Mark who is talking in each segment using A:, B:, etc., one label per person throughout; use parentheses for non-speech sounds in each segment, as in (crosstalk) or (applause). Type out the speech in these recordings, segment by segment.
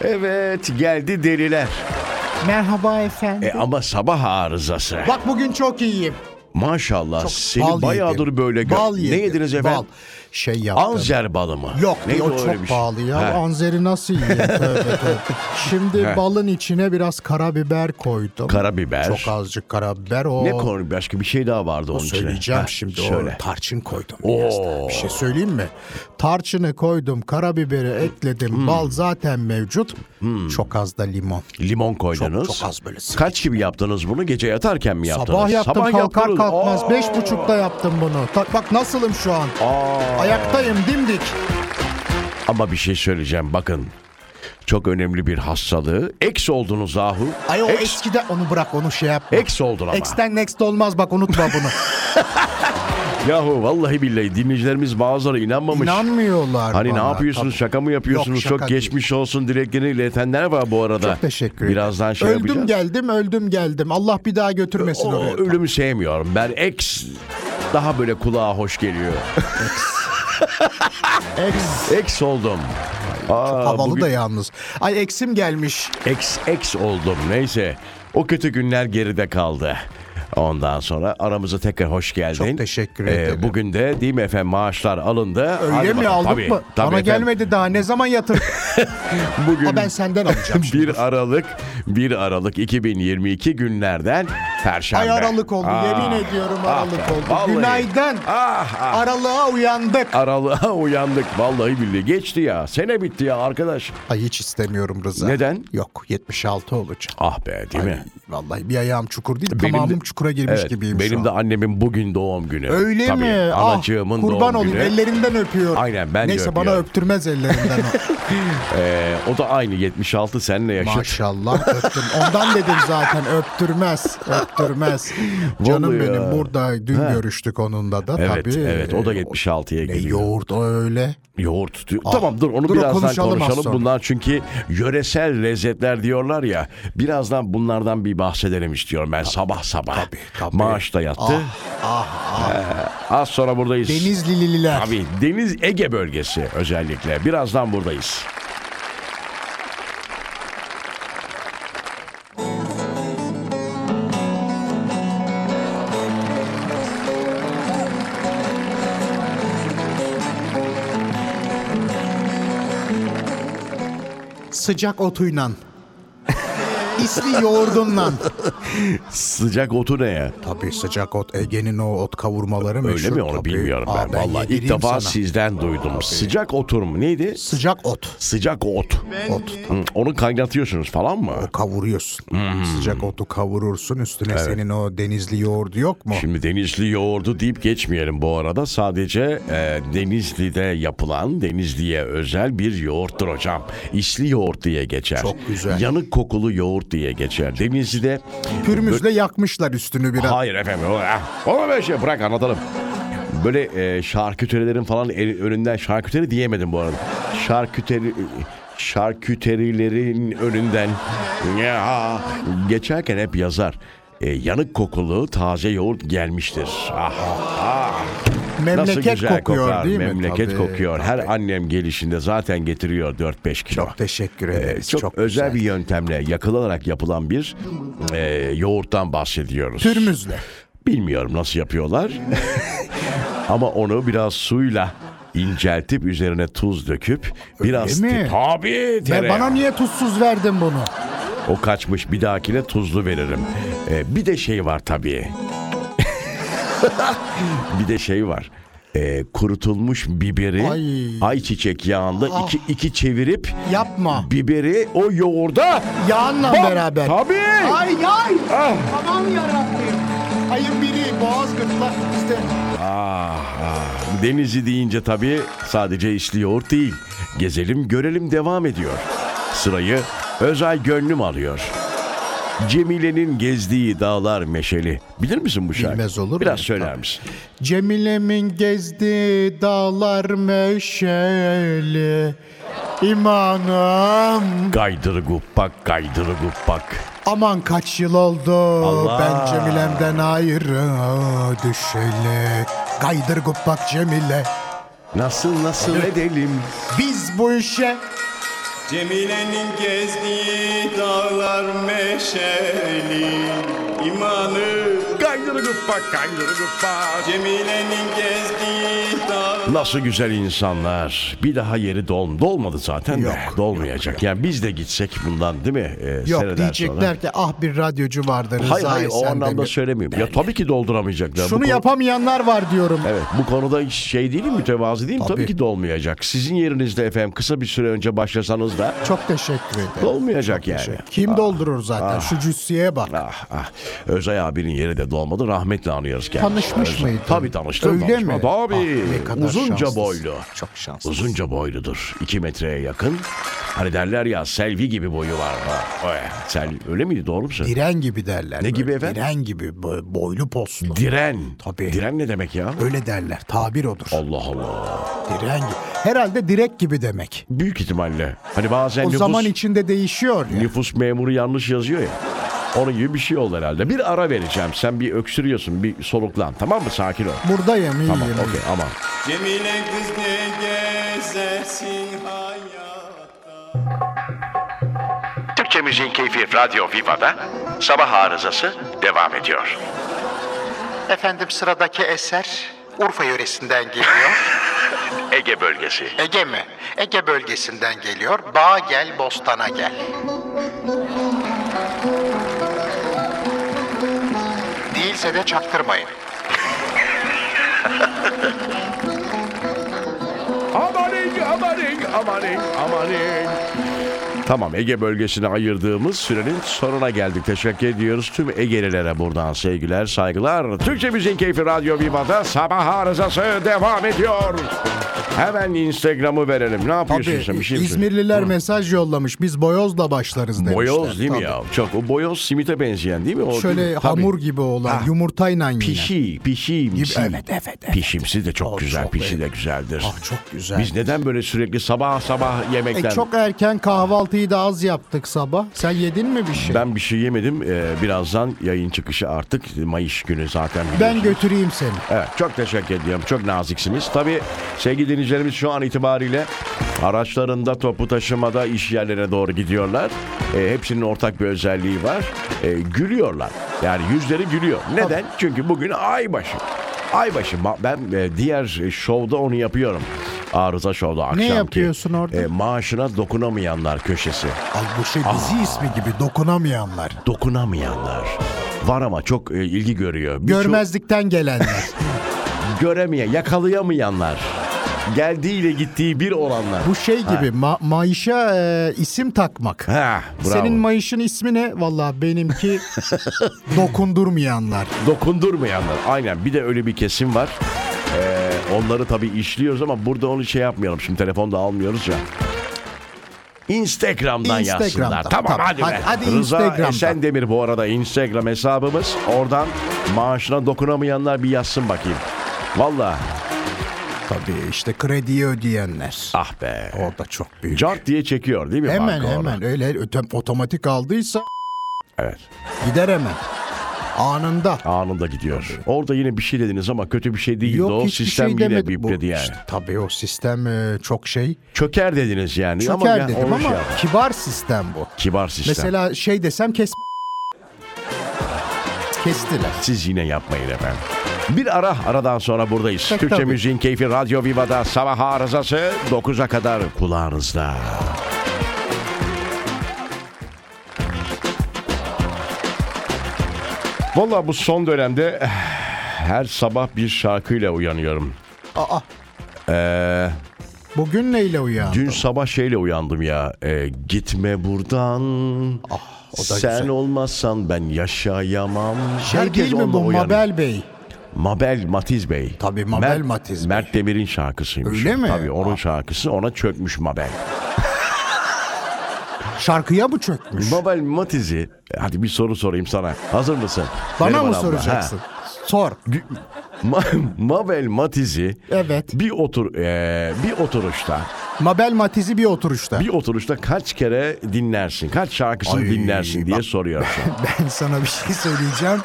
A: Evet geldi deliler.
B: Merhaba efendim.
A: E ama sabah arızası.
B: Bak bugün çok iyiyim.
A: Maşallah seni bayağıdır
B: yedim.
A: böyle gö-
B: Bal yedim.
A: Ne yediniz efendim?
B: Bal. Şey yaptım.
A: Anzer balı mı?
B: Yok
A: Neydi
B: o
A: öyle
B: çok
A: bir şey?
B: pahalı ya.
A: Ha.
B: Anzeri nasıl yiyeyim?
A: (laughs)
B: Tövbe, tövbe. Şimdi
A: He.
B: balın içine biraz karabiber koydum.
A: Karabiber.
B: Çok azıcık karabiber. O...
A: Ne konu başka bir şey daha vardı onun içine.
B: Söyleyeceğim
A: Ha,
B: şimdi
A: Söyle.
B: o tarçın koydum. biraz daha. Bir şey söyleyeyim mi? Tarçını koydum, karabiberi ekledim,
A: Hmm.
B: bal zaten mevcut. Çok az da limon.
A: Limon Hmm. koydunuz.
B: çok az böyle sık.
A: Kaç gibi yaptınız bunu? Gece yatarken mi yaptınız?
B: Sabah yaptım kalkar
A: yaptınız. Oh.
B: kalkmaz.
A: Aa!
B: Beş buçukta yaptım bunu. Ta- Bak nasılım şu an. Ayaktayım dimdik.
A: Ama bir şey söyleyeceğim bakın. Çok önemli bir hastalığı. Eks oldunuz Ahu.
B: Ay o
A: Eks-
B: eskide onu bırak onu şey yapma.
A: Eks oldun ama.
B: Ex'ten next olmaz bak unutma
A: (laughs)
B: bunu.
A: Yahu vallahi billahi dinleyicilerimiz bazıları inanmamış.
B: İnanmıyorlar
A: Hani
B: bana.
A: ne yapıyorsunuz?
B: Tabii.
A: Şaka mı yapıyorsunuz?
B: Yok, şaka
A: Çok
B: değil.
A: geçmiş olsun dileklerini iletenler var bu arada.
B: Çok teşekkür ederim.
A: Birazdan şey
B: öldüm
A: yapacağız.
B: geldim öldüm geldim. Allah bir daha götürmesin
A: O,
B: oraya.
A: ölümü sevmiyorum. Ben eks daha böyle kulağa hoş
B: (laughs)
A: geliyor.
B: Ex.
A: Eks oldum. Aa,
B: Havalı
A: bugün
B: da yalnız. Ay eksim gelmiş.
A: Eks eks oldum. Neyse. O kötü günler geride kaldı. Ondan sonra aramıza tekrar hoş geldin. Ee,
B: Çok teşekkür ederim.
A: bugün de değil mi efendim maaşlar alındı.
B: Öyle
A: Hadi
B: mi
A: bakalım.
B: aldık
A: Tabii,
B: mı?
A: tabii
B: Bana
A: efendim.
B: gelmedi daha ne zaman
A: (laughs)
B: yatır?
A: Bugün
B: ha ben senden alacağım. şimdi.
A: 1 Aralık 1 Aralık 2022 günlerden Perşembe.
B: Ay aralık oldu
A: Aa,
B: yemin ediyorum
A: ah
B: aralık
A: be,
B: oldu.
A: vallahi.
B: Günaydın.
A: Ah, ah.
B: Aralığa uyandık.
A: Aralığa uyandık vallahi billahi geçti ya. Sene bitti ya arkadaş.
B: Ay hiç istemiyorum Rıza.
A: Neden?
B: Yok 76 olacak.
A: Ah be değil mi?
B: Vallahi bir ayağım çukur değil
A: Benim de-
B: tamamım çukura girmiş
A: Evet,
B: gibiyim şu
A: benim
B: an.
A: de annemin bugün doğum günü.
B: Öyle
A: Tabii,
B: mi?
A: Anacığımın
B: ah, kurban
A: doğum
B: olayım
A: günü.
B: ellerinden öpüyorum.
A: Aynen, ben de
B: Neyse bana
A: öpüyorum.
B: öptürmez ellerinden.
A: (laughs)
B: o.
A: Ee, o da aynı 76 seninle yaşıt.
B: Maşallah öptüm. Ondan dedim zaten öptürmez. Öptürmez. Canım
A: Vallahi
B: benim
A: ya.
B: burada dün görüştük onunla da
A: Evet,
B: tabii.
A: evet o da
B: e,
A: 76'ya
B: Ne
A: geliyor.
B: yoğurt o öyle.
A: Yoğurt diyor. Tamam dur onu
B: dur, o
A: birazdan
B: konuşalım
A: konuşalım.
B: az sonra.
A: Bunlar çünkü yöresel lezzetler diyorlar ya. Birazdan bunlardan bir bahsedelim istiyorum ben sabah sabah.
B: Tabii, tabii. Ah,
A: Maaş da yattı. Ee, Az sonra buradayız.
B: Denizlililer.
A: Tabii Deniz Ege bölgesi özellikle. Birazdan buradayız.
B: Sıcak otuyla. İsli yoğurdunla.
A: Sıcak otu ne ya?
B: Tabii sıcak ot. Ege'nin o ot kavurmaları meşhur.
A: Öyle mi onu
B: tabii.
A: bilmiyorum
B: Aa,
A: ben. Vallahi ilk
B: yedireyim
A: defa
B: sana.
A: sizden duydum. Sıcak otur mu? Neydi?
B: Sıcak ot.
A: Sıcak ot.
B: Ot.
A: Hı, Onu kaynatıyorsunuz falan mı?
B: Kavuruyorsun.
A: Hmm.
B: Sıcak otu kavurursun. Üstüne senin o denizli yoğurdu yok mu?
A: Şimdi Denizli yoğurdu deyip geçmeyelim bu arada. Sadece e, Denizli'de yapılan, Denizli'ye özel bir yoğurttur hocam. İsli yoğurt diye geçer.
B: Çok güzel.
A: Yanık kokulu yoğurt diye geçer. Denizli'de...
B: Pürmüzle yakmışlar üstünü biraz.
A: Hayır efendim. o- ah, Ona böyle şey bırak anlatalım. Böyle e, şarküterilerin falan el- önünden şarküteri diyemedim bu arada. Şarküteri şarküterilerin önünden ya, geçerken hep yazar. E, yanık kokulu taze yoğurt gelmiştir. Ah, ah.
B: Memleket
A: Nasıl güzel
B: kokuyor
A: kokar,
B: değil mi?
A: Memleket
B: Tabii,
A: kokuyor. Her
B: tabii.
A: annem gelişinde zaten getiriyor 4-5 kilo.
B: Çok teşekkür
A: Ee,
B: ederiz.
A: çok, özel
B: güzel.
A: bir yöntemle yakılarak yapılan bir e, yoğurttan bahsediyoruz.
B: Pürmüzle.
A: Bilmiyorum nasıl yapıyorlar. (laughs) Ama onu biraz suyla inceltip üzerine tuz döküp biraz
B: mi?
A: te- tabii
B: Ben
A: tereyağı.
B: bana niye tuzsuz verdin bunu?
A: O kaçmış bir dahakine tuzlu veririm. Ee, bir de şey var tabii. (laughs) bir de şey var. Ee, kurutulmuş biberi
B: Ay. Ah.
A: ayçiçek yağında iki, iki çevirip
B: Yapma.
A: biberi o yoğurda
B: Yağınla
A: Bak,
B: beraber.
A: Tabii.
B: Ay ay.
A: Ah.
B: Aman yarabbim. Ayın biri boğaz gırtla işte.
A: Ah, ah. Denizli deyince tabii sadece içli yoğurt değil. Gezelim görelim devam ediyor. Sırayı Özay Gönlüm alıyor. Cemile'nin gezdiği dağlar meşeli. Bilir misin bu şarkı?
B: Bilmez olur mu?
A: Biraz söyler misin?
B: Cemile'min gezdiği dağlar meşeli. İmanım.
A: Gaydırı guppak, gaydırı guppak.
B: Aman kaç yıl oldu
A: Allah.
B: ben Cemile'mden ayrı düşeli. Gaydır gubbak Cemile.
A: Nasıl nasıl edelim?
B: Biz bu işe
C: Cemile'nin gezdiği dağlar meşeli imanı
A: Kaygırı gıppa, kaygırı gıppa.
C: Cemile'nin gezdiği dağlar
A: Nasıl güzel insanlar. Bir daha yeri dol, dolmadı zaten de.
B: Yok,
A: Dolmayacak. Yani biz de gitsek bundan değil mi? Ee, seneler
B: Yok diyecekler
A: sonra.
B: ki ah bir radyocu vardı Rıza
A: Hayır hayır o
B: Esen
A: anlamda
B: Demir."
A: söylemiyorum. Ya tabii ki dolduramayacaklar. Bu
B: Şunu
A: konu-
B: yapamayanlar var diyorum.
A: Evet bu konuda şey değilim mütevazi değilim. Tabii.
B: Tabii.
A: ki dolmayacak. Sizin yerinizde efendim kısa bir süre önce başlasanız da
B: Çok teşekkür ederim.
A: dolmayacak yani.
B: Kim doldurur zaten? Şu cüsseye bak.
A: Ah, ah. Özay abinin yeri de dolmadı. Rahmetle anıyoruz kendisini.
B: Tanışmış
A: Özay-
B: mıydı?
A: Tabii tanıştım.
B: Öyle
A: tanışma.
B: mi?
A: Tabii.
B: Ah, ne kadar
A: Uzunca
B: şanslısın.
A: boylu.
B: Çok şanslısın.
A: Uzunca boyludur. 2 metreye yakın. Hani derler ya selvi gibi boyu var. Ha, o, eh, Sen öyle miydi doğru mu söylüyorsun?
B: Diren gibi derler. böyle.
A: gibi efendim?
B: Diren gibi bo- boylu poslu.
A: Diren.
B: Tabii.
A: Diren ne demek ya?
B: Öyle derler. Tabir odur.
A: Allah Allah.
B: Diren gibi. Herhalde direk gibi demek.
A: Büyük ihtimalle. Hani bazen
B: O
A: nüfus,
B: zaman içinde değişiyor ya.
A: nüfus memuru yanlış yazıyor ya. Onun gibi bir şey oldu herhalde. Bir ara vereceğim. Sen bir öksürüyorsun. Bir soluklan. Tamam mı? Sakin ol.
B: Buradayım iyiyim.
A: Tamam. Okey. Aman.
C: Cemile kız ne gezersin hayatta
A: Türkçe Müziğin Keyfi Radyo Viva'da sabah arızası devam ediyor.
D: Efendim sıradaki eser Urfa yöresinden geliyor.
A: Ege bölgesi.
D: Ege mi? Ege bölgesinden geliyor. Bağa gel, bostana gel. Değilse de çaktırmayın.
A: Amanin, amanin, amanin, amanin. Tamam Ege bölgesine ayırdığımız sürenin sonuna geldik. Teşekkür ediyoruz tüm Ege'lilere buradan sevgiler, saygılar. Türkçe Müziğin Keyfi Radyo Viva'da sabah arızası devam ediyor. Hemen Instagram'ı verelim. Ne yapıyorsun
B: Tabii,
A: sen? Bir şey mi
B: İzmirliler mesaj yollamış. Biz boyozla başlarız
A: söylüyorsun?
B: demişler.
A: Boyoz değil mi
B: Tabii.
A: ya? Çok o boyoz simite benzeyen değil mi? O
B: Şöyle
A: değil mi? Tabii.
B: hamur gibi olan, yumurtayla yiyen.
A: Pişi, şey. pişimsi.
B: Gibi- evet, evet, evet.
A: Pişimsi de çok
B: Oh,
A: güzel,
B: çok
A: pişi de
B: beğendim.
A: güzeldir.
B: Ah, çok güzel.
A: Biz neden böyle sürekli sabah sabah
B: E
A: yemekten...
B: çok erken kahvaltıyı da az yaptık sabah. Sen yedin mi bir şey? Ben,
A: Ben bir şey yemedim. Ee, birazdan yayın çıkışı artık Mayıs günü zaten. biliyorsunuz.
B: götüreyim seni.
A: Evet, çok teşekkür ediyorum. Çok naziksiniz. Tabii sevgili dinleyicilerimiz şu an itibariyle araçlarında toplu taşımada iş yerlerine doğru gidiyorlar. Ee, hepsinin ortak bir özelliği var. Ee, gülüyorlar. Yani yüzleri gülüyor. Neden? Çünkü bugün aybaşı. Aybaşı. Ma- Ben e, diğer e, şovda onu yapıyorum. Arıza şovda akşamki.
B: yapıyorsun orada?
A: e, maaşına dokunamayanlar köşesi
B: Ay bu şey dizi ismi gibi dokunamayanlar.
A: dokunamayanlar var ama çok e, ilgi görüyor. Birçok
B: Görmezlikten
A: (laughs)
B: gelenler.
A: göremeyen, yakalayamayanlar. Geldiğiyle gittiği bir olanlar.
B: bu şey gibi ma- mayışa e, isim takmak.
A: Ha, bravo.
B: Senin mayışın ismi ne? Valla
A: (laughs)
B: benimki dokundurmayanlar.
A: dokundurmayanlar. Aynen. Bir de öyle bir kesim var. Ee, onları tabii işliyoruz ama burada onu şey yapmayalım. Şimdi telefonda almıyoruz ya. Instagram'dan
B: Instagram'dan,
A: yazsınlar. Tamam,
B: tamam.
A: hadi, be.
B: Hadi- hadi
A: Rıza
B: Instagram'dan.
A: Esendemir bu arada Instagram hesabımız. Oradan maaşına dokunamayanlar bir yazsın bakayım. Valla
B: Tabii işte krediyi ödeyenler.
A: ah be.
B: O da çok büyük.
A: Cart diye çekiyor değil mi?
B: hemen
A: banka onu?
B: hemen öyle ötem- otomatik aldıysa
A: Evet.
B: gider hemen. Anında.
A: Anında gidiyor. Orada yine bir şey dediniz ama kötü bir şey değildi. o
B: hiçbir
A: sistem yine
B: demedim. Bu
A: bipledi yani.
B: işte tabii o sistem e, çok şey.
A: Çöker dediniz yani. ama
B: Çöker
A: ya
B: dedim
A: onu
B: ama
A: şey yaptı.
B: kibar sistem bu.
A: kibar sistem.
B: Mesela şey desem kes kestiler.
A: Siz yine yapmayın efendim. Bir ara aradan sonra buradayız.
B: Tabii,
A: Türkçe
B: tabii.
A: Müziğin Keyfi Radyo Viva'da sabah arızası 9'a kadar kulağınızda. Valla bu son dönemde eh, her sabah bir şarkıyla uyanıyorum.
B: Aa. Bugün neyle uyan?
A: Dün sabah şeyle uyandım ya. e, gitme buradan.
B: Ah, da
A: Sen
B: güzel.
A: olmazsan ben yaşayamam.
B: Şey değil mi
A: onunla
B: bu
A: uyanıyor.
B: Mabel Bey?
A: Mabel Matiz Bey.
B: Tabii Mabel Matiz Bey.
A: Mert Demir'in şarkısıymış.
B: Öyle mi? Ah.
A: Tabii onun
B: Aa.
A: şarkısı ona çökmüş Mabel.
B: Şarkıya mı çökmüş?
A: Mabel Matiz'i hadi bir soru sorayım sana. Hazır mısın?
B: Bana
A: Neriman
B: mı
A: abla,
B: soracaksın? Sor.
A: ha. Gü- Ma- Mabel Matiz'i
B: Evet.
A: bir otur eee, bir oturuşta
B: Mabel Matiz'i bir oturuşta.
A: bir oturuşta kaç kere dinlersin? Kaç şarkısını
B: Ay,
A: dinlersin diye soruyorsun.
B: (laughs) Ben sana bir şey söyleyeceğim.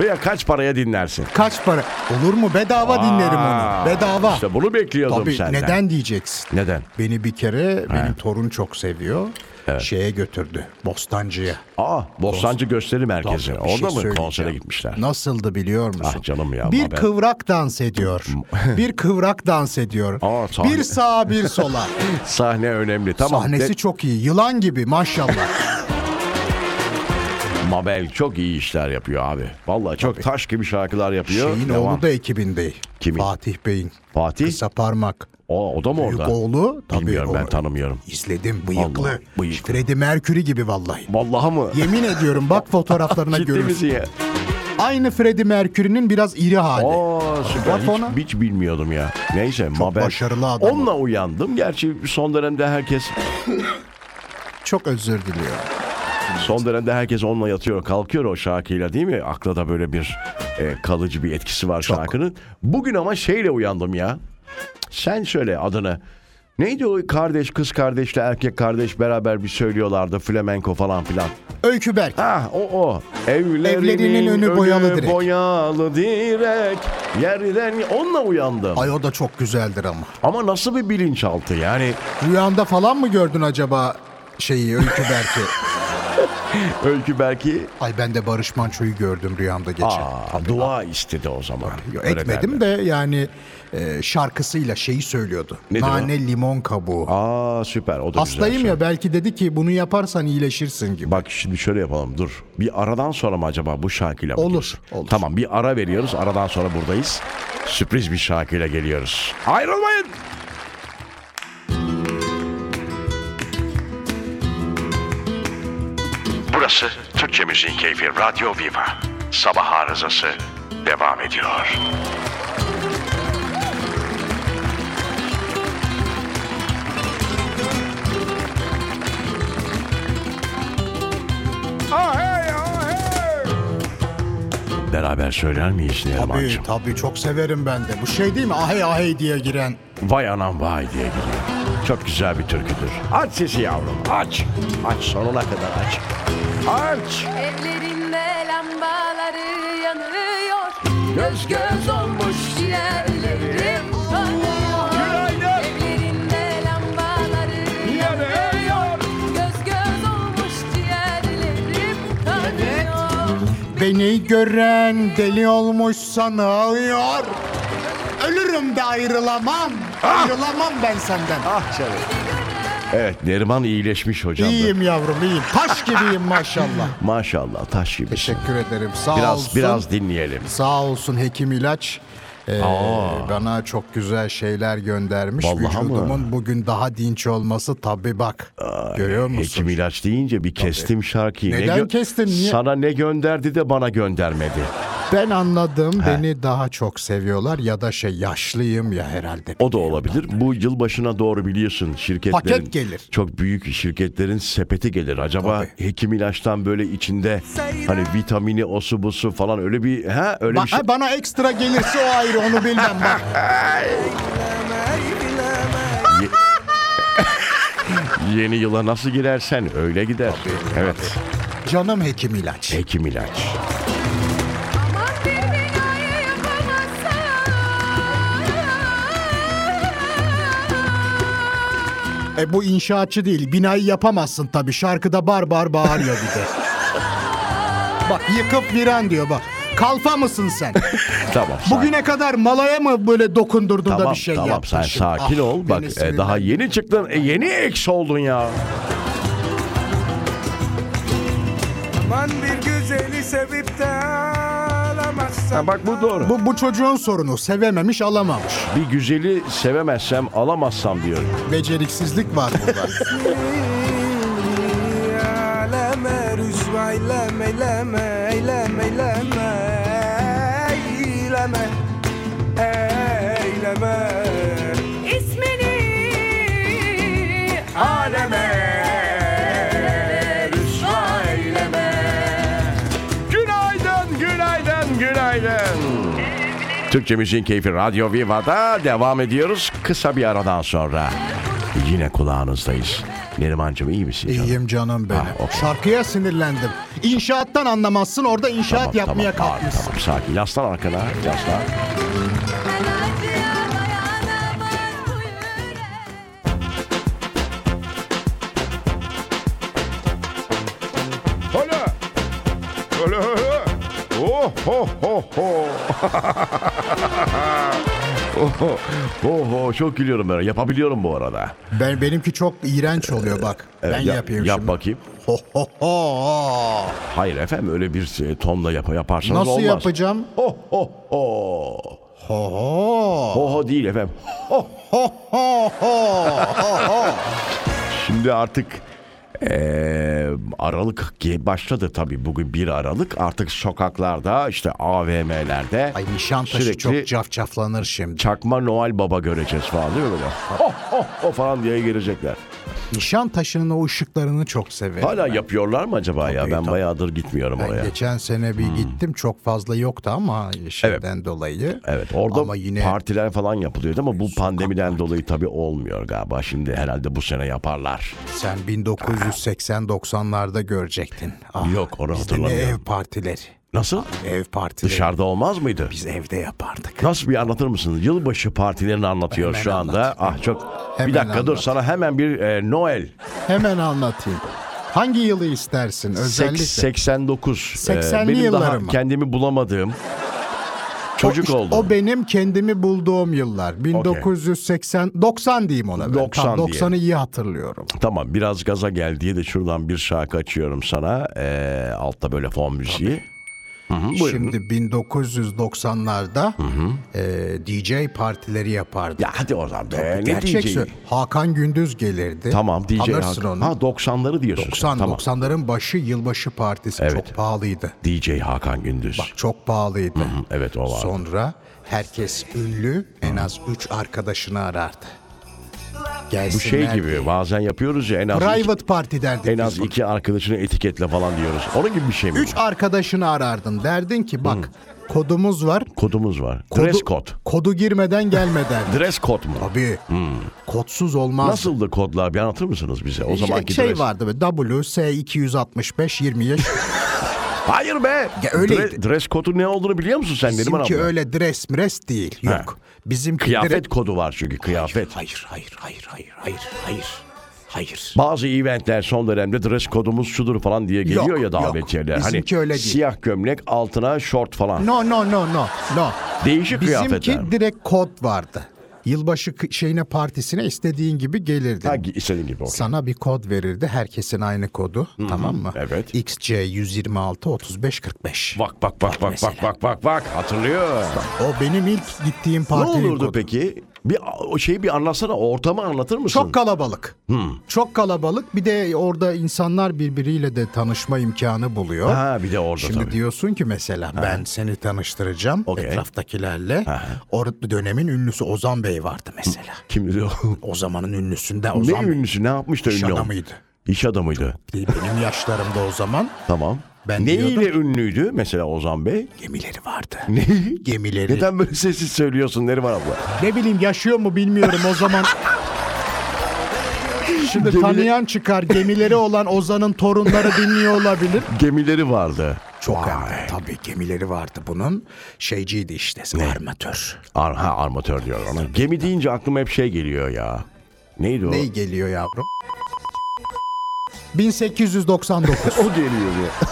A: Veya kaç paraya dinlersin?
B: Kaç para? Olur mu? Bedava dinlerim onu.
A: Aa,
B: Bedava.
A: İşte bunu bekliyordum
B: Tabii
A: senden.
B: neden diyeceksin?
A: Neden?
B: Beni bir kere benim torun çok seviyor. Şeye götürdü. Bostancı'ya.
A: Aa, Bostancı Gösteri Merkezi.
B: Tabii, bir şey
A: Orada mı konsere
B: söyleyeceğim.
A: gitmişler?
B: Nasıldı biliyor musun?
A: Ah canım ya,
B: Bir
A: ama ben-
B: kıvrak dans
A: (laughs)
B: ediyor. bir kıvrak dans ediyor.
A: Aa, sahne-
B: bir sağa bir sola.
A: Sahne önemli. (laughs) Tamam.
B: Sahnesi
A: De-
B: çok iyi. Yılan gibi
A: (laughs)
B: maşallah.
A: Mabel çok iyi işler yapıyor abi. Vallahi çok taş gibi şarkılar yapıyor.
B: Şeyin
A: Devam.
B: oğlu da ekibinde.
A: Kimin?
B: Fatih Bey'in.
A: Fatih?
B: Kısa parmak.
A: O, o da mı
B: Büyük
A: orada?
B: oğlu. Tabii
A: Bilmiyorum ben
B: o-
A: tanımıyorum.
B: İzledim bıyıklı.
A: Vallahi bıyıklı.
B: Freddie Mercury gibi vallahi.
A: Vallahi mı?
B: Yemin ediyorum
A: (laughs)
B: bak fotoğraflarına
A: Ciddi misin
B: görürsün.
A: ya?
B: Aynı Freddie Mercury'nin biraz iri hali.
A: Aa süper.
B: Bak
A: Hiç,
B: ona.
A: hiç bilmiyordum ya. Neyse Mabel.
B: başarılı adam o.
A: Onunla uyandım. Gerçi son dönemde herkes
B: Çok özür diliyorum.
A: son dönemde herkes onunla yatıyor, kalkıyor o şarkıyla değil mi? Akla da böyle bir e, kalıcı bir etkisi var şarkının. Bugün ama şeyle uyandım ya. Sen söyle adını. Neydi o kardeş, kız kardeşle erkek kardeş beraber bir söylüyorlardı flamenko falan filan.
B: Öykü Berk.
A: Ah o o. Evlerinin,
B: Evlerinin önü boyalı direk.
A: boyalı direk. Yerden onunla uyandım.
B: Ay o da çok güzeldir ama.
A: Ama nasıl bir bilinçaltı yani
B: Rüyanda falan mı gördün acaba şeyi Öykü Berk'i?
A: (laughs) Öykü belki
B: Ay ben de Barış Manço'yu gördüm rüyamda geçen.
A: aa, dua istedi o zaman.
B: Yo,
A: Öyle
B: Etmedim de yani e, şarkısıyla şeyi söylüyordu.
A: Nedir o?
B: Nane limon kabuğu.
A: derler. Aa süper o da
B: Hastayım
A: güzel şey.
B: ya belki dedi ki bunu yaparsan iyileşirsin gibi.
A: Bak şimdi şöyle yapalım dur. Bir aradan sonra mı acaba bu şarkıyla mı
B: Olur,
A: girsin?
B: olur.
A: Tamam bir ara veriyoruz aradan sonra buradayız. Sürpriz bir şarkıyla geliyoruz. Ayrılmayın. Burası Türkçe Müziğin Keyfi Radyo Viva. Sabah arızası devam ediyor. Beraber söyler miyiz
B: Tabii
A: Neriman'cığım?
B: tabii çok severim ben de. Bu şey değil mi ahey ahey diye giren.
A: Vay anam vay diye gidiyor. Çok güzel bir türküdür. Aç sesi yavrum aç. Aç sonuna kadar aç. Aç.
E: Evlerinde lambaları yanıyor
A: Göz göz olmuş
E: Ciğerlerim kanıyor
A: Günaydın.
E: Evlerinde lambaları
A: yanıyor.
E: Göz göz olmuş ciğerlerim kanıyor
B: Beni gören deli olmuş sanıyor. Ölürüm de ayrılamam. Ayrılamam ben senden.
A: Ah canım. Evet Neriman iyileşmiş hocam.
B: İyiyim yavrum iyiyim. Taş gibiyim maşallah.
A: Maşallah taş gibi.
B: Teşekkür ederim. Sağ
A: Biraz
B: olsun.
A: biraz dinleyelim.
B: Sağ olsun hekim ilaç. Ee, bana çok güzel şeyler göndermiş.
A: Vallahi mi?
B: Vücudumun bugün daha dinç olması tabi bak. Görüyor musun?
A: Hekim ilaç deyince bir kestim şarkıyı.
B: Neden
A: gö-
B: kestin, niye?
A: Sana ne gönderdi de bana göndermedi.
B: Ben anladım. Beni daha çok seviyorlar ya da şey yaşlıyım ya herhalde.
A: O da olabilir. Bu yıl başına doğru biliyorsun şirketlerin
B: Paket gelir.
A: Çok büyük şirketlerin sepeti gelir. Acaba hekim ilaçtan böyle içinde hani vitamini osu busu falan öyle bir ha öyle
B: Ba-
A: bir şey.
B: ha, bana ekstra gelirse o ayrı onu bilmem bak.
A: (laughs) Yeni yıla nasıl girersen öyle gider. evet.
B: Canım hekim ilaç.
A: Hekim ilaç.
E: Aman bir binayı yapamazsan
B: E bu inşaatçı değil. Binayı yapamazsın tabii. Şarkıda bar bar bağırıyor bir
A: (laughs)
B: de. bak yıkıp viran diyor bak. Kalfa mısın sen?
A: Tamam.
B: Bugüne kadar malaya mı böyle dokundurdun da
A: Tamam
B: bir şey
A: tamam
B: yaptın?
A: sen
B: şimdi?
A: sakin
B: Ah,
A: ol.
B: beni
A: Bak e,
B: sinirlen-
A: daha yeni çıktın. E, yeni eks oldun ya.
F: Aman bir güzeli sevip de alamazsam
A: Ha, bak bu doğru.
B: Bu, bu çocuğun sorunu. Sevememiş alamamış.
A: Bir güzeli sevemezsem alamazsam diyorum.
B: Beceriksizlik var
A: (laughs)
B: burada.
F: Aleme rüsva eyleme eyleme eyleme eyleme Eyleme Eyleme
E: İsmini
F: Aleme
E: rüsva eyleme
A: Günaydın, günaydın, günaydın.
E: Evlerinde
A: Türkçemizin keyfi Radyo Viva'da devam ediyoruz. Kısa bir aradan sonra yine kulağınızdayız. Nerimancığım iyi misin canım?
B: İyiyim canım benim.
A: Ah, okey.
B: Şarkıya sinirlendim. İnşaattan anlamazsın orada inşaat yapmaya
A: tamam,
B: kalkmışsın.
A: Tamam, sakin. Yaslan arkana, yaslan.
E: Ben acıya dayanamayız bu yürek.
A: Hola! Hola! hola. Oh ho ho (laughs) ho. Oho, oho, çok gülüyorum böyle. Yapabiliyorum bu arada.
B: Ben benimki çok iğrenç oluyor bak. ben
A: yap-
B: yapayım
A: Yap
B: şimdi.
A: bakayım.
B: Ho, ho, ho.
A: Hayır efendim öyle bir e, tonla yap yaparsanız
B: Nasıl
A: olmaz.
B: yapacağım?
A: Ho ho ho.
B: Ho ho.
A: Ho ho değil efendim. Ho.
B: Ho ho ho. ho, ho.
A: Şimdi artık eee, Aralık ge- başladı tabii bugün 1 Aralık. Artık sokaklarda işte AVM'lerde
B: Ay Nişantaşı
A: sürekli
B: çok cafcaflanır şimdi.
A: çakma Noel Baba göreceğiz falan değil mi böyle? Oh oh oh falan diye girecekler.
B: Nişantaşı'nın o ışıklarını çok severim.
A: Hala
B: ben.
A: yapıyorlar mı acaba ya?
B: Tabii,
A: Ben
B: tabii.
A: bayağıdır gitmiyorum
B: Ben
A: oraya. Hmm.
B: geçen sene bir gittim çok fazla yoktu ama şeyden dolayı.
A: Evet orada
B: ama yine
A: partiler falan yapılıyordu ama bu pandemiden dolayı tabii olmuyor galiba. Şimdi herhalde bu sene yaparlar.
B: sen 1980-90'larda görecektin. Ah,
A: Yok, onu
B: bizde ne
A: hatırlamıyorum.
B: ev partileri.
A: Nasıl?
B: Ev partileri.
A: Dışarıda olmaz mıydı?
B: Biz evde yapardık.
A: Nasıl bir anlatır mısınız? Yılbaşı partilerini anlatıyor
B: Hemen
A: şu anda.
B: anlat.
A: Ah çok. bir
B: Hemen
A: dakika dur
B: anlat.
A: sana hemen bir e, Noel.
B: Hemen anlatayım. Hangi yılı istersin
A: Sek-
B: özellikle?
A: 89. Ee,
B: 80'li
A: benim daha
B: yılları mı?
A: kendimi bulamadığım çocuk
B: o, işte
A: oldum.
B: O benim kendimi bulduğum yıllar. 1980 90 diyeyim ona. ben.
A: 90
B: Tam
A: diyelim.
B: 90'ı iyi hatırlıyorum.
A: Tamam biraz gaza gel diye de şuradan bir şarkı açıyorum sana. Ee, altta böyle fon müziği.
B: Şimdi 1990'larda e, DJ partileri yapardı.
A: Ya hadi oradan be. ne
B: Gerçek
A: diyeceğim?
B: sö- Hakan Gündüz gelirdi.
A: Tamam DJ
B: Tanırsın
A: Hakan.
B: onu.
A: Ha 90'ları diyorsun. sen.
B: 90
A: Tamam.
B: 90'ların başı yılbaşı partisi
A: Evet.
B: çok pahalıydı.
A: DJ Hakan Gündüz. Hmm,
B: Çok pahalıydı.
A: Evet o var.
B: Sonra herkes ünlü en az 3 arkadaşını arardı.
A: Bu
B: Gelsinler
A: şey gibi
B: diye.
A: bazen yapıyoruz ya en az iki,
B: Private party derdik
A: en
B: biz
A: az
B: buna.
A: iki arkadaşını etiketle falan diyoruz. Onun gibi bir şey mi?
B: Üç arkadaşını arardın. Derdin ki bak kodumuz var.
A: bu? Kodumuz var.
B: Kodu,
A: Dress code.
B: Kodu girmeden gelmeden.
A: Dress code mu?
B: Tabii. Kodsuz olmaz.
A: Nasıldı kodlar? Bir anlatır mısınız bize? O
B: Şey-
A: zamanki
B: şey
A: dress.
B: vardı be WS 265 20
A: (laughs)
B: yaş.
A: Hayır be.
B: Ya öyleydi.
A: Dre- dress kodu ne olduğunu biliyor musun sen Neriman
B: Bizimki
A: abla?
B: öyle dress mres değil.
A: Ha.
B: Yok. Bizimki
A: Kıyafet
B: direkt-
A: kodu var çünkü kıyafet.
B: Hayır hayır hayır hayır hayır hayır. Hayır.
A: Bazı eventler son dönemde dress kodumuz şudur falan diye geliyor
B: Yok,
A: ya
B: yok.
A: davetiyeler. Hani
B: Bizimki öyle değil.
A: siyah gömlek altına şort falan.
B: No no no no no.
A: Değişik kıyafetler.
B: Bizimki direkt kod vardı. Yılbaşı k- şeyine partisine istediğin gibi gelirdin.
A: Ha, gi- istediğin gibi okey.
B: Sana bir kod verirdi. Herkesin aynı kodu. Tamam mı?
A: evet.
B: XC 126 35 45.
A: Bak bak bak bak bak bak bak bak hatırlıyor.
B: O benim ilk gittiğim
A: Ne
B: partinin
A: olurdu
B: kodu.
A: peki? Bir o şeyi bir anlatsana ortamı anlatır mısın?
B: Çok kalabalık. Çok kalabalık. Bir de orada insanlar birbiriyle de tanışma imkanı buluyor.
A: Ha bir de orada
B: Şimdi
A: tabii.
B: diyorsun ki mesela ben seni tanıştıracağım
A: Okey.
B: etraftakilerle. Orada dönemin ünlüsü Ozan Bey vardı mesela.
A: Kimdi o?
B: O zamanın ünlüsünde (laughs)
A: ne
B: Ozan Bey.
A: ünlüsü ne yapmış da
B: İş
A: ünlü? olmuş?
B: adamıydı.
A: İş adamıydı.
B: Benim yaşlarımda o zaman
A: Tamam.
B: Ben
A: Neyle
B: diyordum-
A: ünlüydü mesela Ozan Bey?
B: gemileri vardı.
A: Neyi?
B: Gemileri.
A: Neden böyle sessiz söylüyorsun Neriman abla?
B: Ne bileyim yaşıyor mu bilmiyorum o zaman. Şimdi
A: Gemileri-
B: tanıyan çıkar gemileri olan Ozan'ın (laughs) torunları dinliyor olabilir.
A: Gemileri vardı.
B: Çok hem de tabii gemileri vardı bunun. Şeyciydi işte armatör.
A: Ar ha, armatör diyor ona. Gemi deyince aklıma hep şey geliyor ya. Neydi o?
B: Ne geliyor yavrum? (laughs) 1899.
A: O geliyor ya.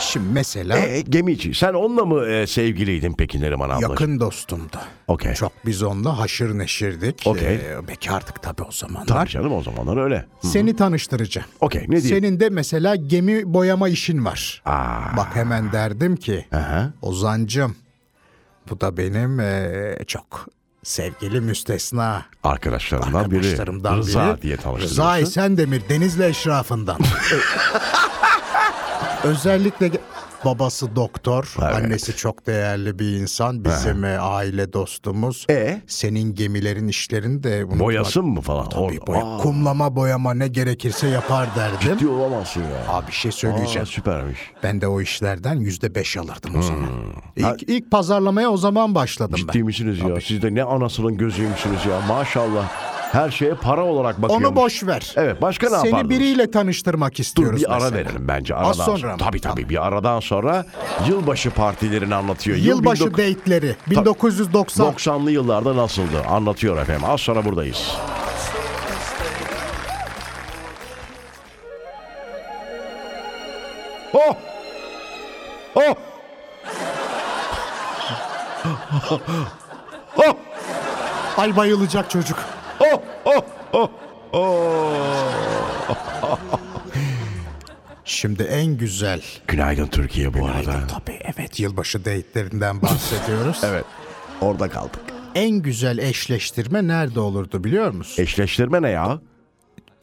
B: Şimdi mesela
A: E, gemici. Sen onunla mı e, sevgiliydin peki Neriman abla?
B: yakın dostumdu.
A: Okey.
B: Çok biz onunla haşır neşirdik.
A: Okey.
B: Ee, bekardık tabii o zamanlar.
A: Tabii canım o zamanlar öyle.
B: Seni tanıştıracağım.
A: Okey ne diyeyim?
B: Senin de mesela gemi boyama işin var.
A: Aa.
B: Bak hemen derdim ki
A: Aha.
B: Ozancım bu da benim eee, çok sevgili müstesna
A: Arkadaşlarından biri.
B: arkadaşlarımdan
A: Rıza
B: biri.
A: diye tanıştırıyorsun.
B: Rıza Esendemir Denizli
A: (laughs)
B: Eşrafı'ndan. Özellikle ge- babası doktor,
A: Evet.
B: annesi çok değerli bir insan, bizim eee, aile dostumuz.
A: E?
B: Senin gemilerin işlerini de unutma.
A: Boyasın mı falan?
B: Tabii
A: Or-
B: boya-
A: Aa,
B: kumlama boyama ne gerekirse yapar derdim.
A: Ciddi olamazsın ya.
B: Abi bir şey
A: Aa,
B: söyleyeceğim.
A: süpermiş.
B: Ben de o işlerden yüzde beş alırdım o zaman. İlk, ilk pazarlamaya o zaman başladım ben.
A: Hmm. Ciddi misiniz ya? Siz de ne anasının gözüymüşsünüz ya. Maşallah. Her şeye para olarak bakıyormuş.
B: Onu boş ver.
A: Evet başka ne
B: Seni
A: yapardınız?
B: biriyle tanıştırmak
A: Dur
B: istiyoruz.
A: bir ara
B: mesela.
A: verelim bence. Aradan
B: Az sonra mı?
A: Tabii tabii
B: Tamam.
A: bir aradan sonra yılbaşı partilerini anlatıyor. Yıl
B: Yılbaşı
A: 19-
B: date'leri 1990.
A: 90'lı yıllarda nasıldı anlatıyor efendim. Az sonra buradayız. Oh! Oh! Oh!
B: Ay bayılacak çocuk.
A: Oh! Oh! Oh! Oh!
B: Şimdi en güzel.
A: Günaydın Türkiye bu arada.
B: Tabii evet yılbaşı date'lerinden bahsediyoruz.
A: (laughs) Evet. Orada kaldık.
B: En güzel eşleştirme nerede olurdu biliyor musun?
A: E- Eşleştirme ne ya?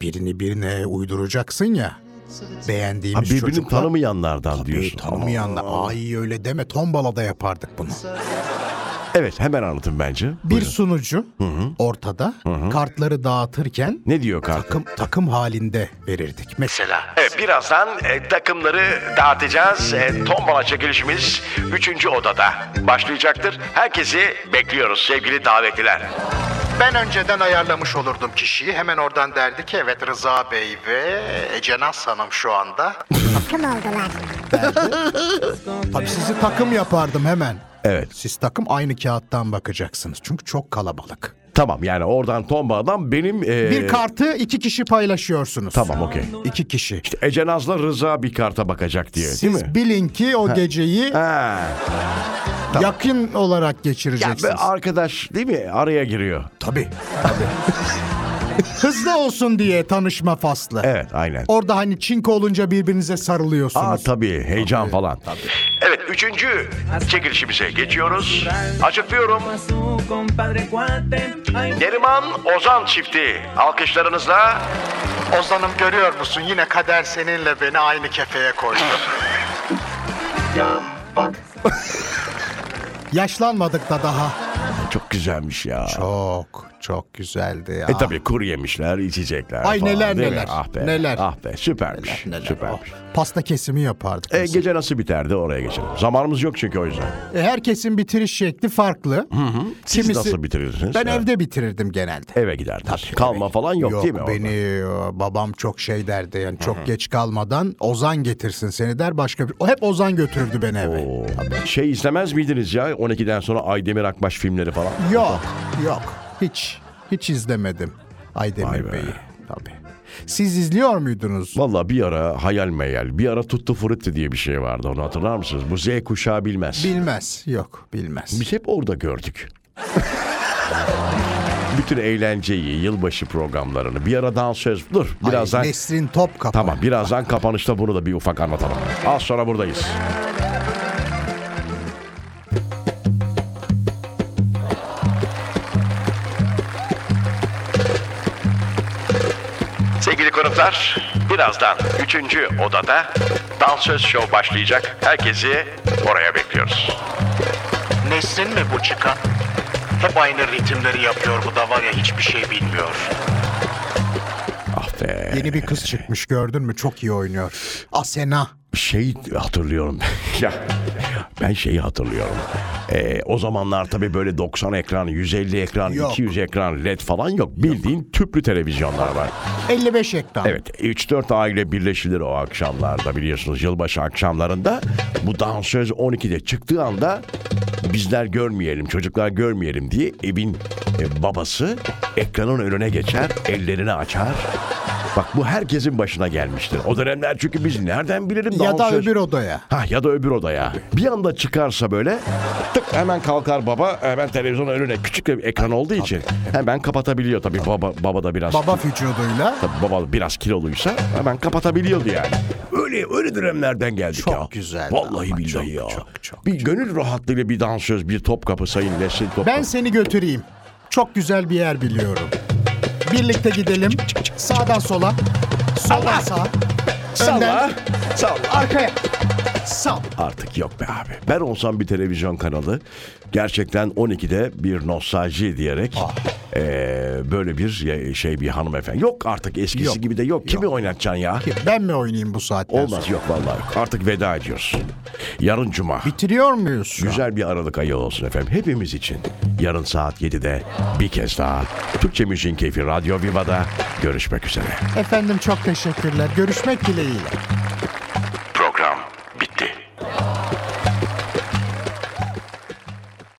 B: birini birine uyduracaksın ya.
A: Ha,
B: Beğendiğimiz
A: birbirini
B: çocukla.
A: tanımayanlardan
B: Tabii,
A: diyorsun.
B: tanımayanla. Ay öyle deme. Tombala'da yapardık bunu.
A: Evet hemen anlatın bence.
B: Bir sunucu ortada kartları dağıtırken
A: Ne diyor kart?
B: takım takım halinde verirdik. Mesela
A: Evet, birazdan e, takımları dağıtacağız. E, tombala çekilişimiz 3. odada başlayacaktır. Herkesi bekliyoruz sevgili davetliler.
D: Ben önceden ayarlamış olurdum kişiyi. Hemen oradan derdi ki evet Rıza Bey ve Cenaz Hanım şu anda.
B: tabii sizi takım yapardım hemen.
A: Evet
B: Siz takım aynı kağıttan bakacaksınız. Çünkü çok kalabalık.
A: tamam yani oradan tombaladan benim... e,
B: Bir kartı iki kişi paylaşıyorsunuz.
A: Tamam okey.
B: İki kişi.
A: Ece Naz'la Rıza bir karta bakacak diye e, değil
B: Siz
A: mi?
B: bilin ki o geceyi
A: Ha,
B: yakın olarak
A: ya be
B: geçireceksiniz.
A: arkadaş değil mi araya giriyor.
B: Tabii. Hızlı olsun diye tanışma faslı.
A: Evet aynen.
B: Orada hani çinko olunca birbirinize sarılıyorsunuz.
A: Aa tabii heyecan falan. Evet üçüncü çekilişimize geçiyoruz. Açıklıyorum.
F: Su compadre cuate, ay
A: Neriman Ozan çifti. Alkışlarınızla
D: Ozan'ım görüyor musun yine kader seninle beni aynı kefeye koydu.
B: Yaşlanmadık da daha.
A: Çok güzelmiş ya.
B: Çok çok güzeldi ya.
A: E tabii kuru yemişler, içecekler
B: Ay
A: falan,
B: neler
A: değil mi?
B: neler,
A: Ah be.
B: neler. Oh,
A: Ah be süpermiş. süpermiş.
B: Pasta kesimi yapardık.
A: E,
B: biz.
A: gece nasıl biterdi oraya geçelim. Zamanımız yok çünkü o yüzden.
B: E, Herkesin bitiriş şekli farklı.
A: Siz
B: Kimisi-
A: nasıl bitirirsiniz?
B: Ben
A: Evet.
B: evde bitirirdim genelde.
A: eve giderdiniz. Kalma falan yok, değil mi? orada?
B: beni e, babam çok şey derdi yani çok geç kalmadan Ozan getirsin seni der başka bir. O hep Ozan götürürdü beni eve.
A: Oo. Şey izlemez miydiniz ya 12'den sonra Aydemir Akbaş filmleri falan?
B: Yok, yok. Hiç, hiç izlemedim
A: Vay be.
B: Aydemir Bey'i. Tabii. Siz izliyor muydunuz?
A: Valla bir ara hayal meyal, bir ara tuttu frutti diye bir şey vardı onu hatırlar mısınız? Bu Z kuşağı bilmez.
B: Bilmez. Yok, bilmez.
A: Biz hep
B: (laughs)
A: orada gördük. Bütün eğlenceyi, yılbaşı programlarını, bir ara dansöz... Dur
B: Ay,
A: birazdan...
B: Nesrin Topkapı.
A: Tamam birazdan kapanışta bunu da bir ufak anlatalım. Az sonra buradayız. Sevgili konuklar, birazdan 3. odada dansöz show başlayacak. Herkesi oraya bekliyoruz.
D: Nesrin mi bu çıkan? Hep aynı ritimleri yapıyor bu da var ya hiçbir şey bilmiyor.
A: Ah be.
B: Yeni bir kız çıkmış gördün mü? Çok iyi oynuyor. Asena.
A: şey
B: (laughs)
A: hatırlıyorum. ya ben şeyi hatırlıyorum. Ee, o zamanlar tabii böyle 90 ekran, 150 ekran,
B: Yok.
A: 200 ekran LED falan yok. Bildiğin tüplü televizyonlar var.
B: 55 ekran.
A: Evet 3-4 aile birleşilir o akşamlarda biliyorsunuz yılbaşı akşamlarında. Bu dansöz 12'de çıktığı anda bizler görmeyelim, çocuklar görmeyelim diye evin e, babası ekranın önüne geçer, ellerini açar. Bak bu herkesin başına gelmiştir. O dönemler çünkü biz nereden bilelim
B: Ya da
A: dansöz-
B: öbür odaya.
A: Ha ya da öbür odaya. Bir anda çıkarsa böyle tık hemen kalkar baba hemen televizyonun önüne küçük bir ekran olduğu için hemen kapatabiliyor tabii baba baba da biraz
B: Baba vücuduyla.
A: Tabii baba biraz kiloluysa hemen kapatabiliyordu yani. Öyle öyle dönemlerden geldik
B: Çok
A: ya.
B: güzeldi
A: Vallahi
B: ama,
A: billahi
B: çok,
A: ya.
B: çok, çok,
A: bir gönül rahatlığıyla bir dansöz, bir top kapı sayın Nesin top
B: Ben seni götüreyim. Çok güzel bir yer biliyorum. Birlikte gidelim. Sağdan sola. Soldan sağa.
A: Salla.
B: Önden
A: Salla.
B: arkaya. Sağ.
A: Artık yok be abi. Ben olsam bir televizyon kanalı gerçekten 12'de bir nostalji diyerek Ee, böyle bir ya- şey bir hanımefendi. Yok artık eskisi
B: Yok.
A: gibi de yok. Kimi oynatacaksın ya?
B: Ben mi oynayayım bu saatten sonra?
A: Olmaz yok vallahi yok. Artık veda ediyoruz. Yarın cuma.
B: Bitiriyor muyuz? şu an?
A: Güzel bir Aralık ayı olsun efendim hepimiz için. Yarın saat 7'de bir kez daha Türkçe Müziğin Keyfi Radyo Viva'da görüşmek üzere.
B: Efendim çok teşekkürler. Görüşmek dileğiyle.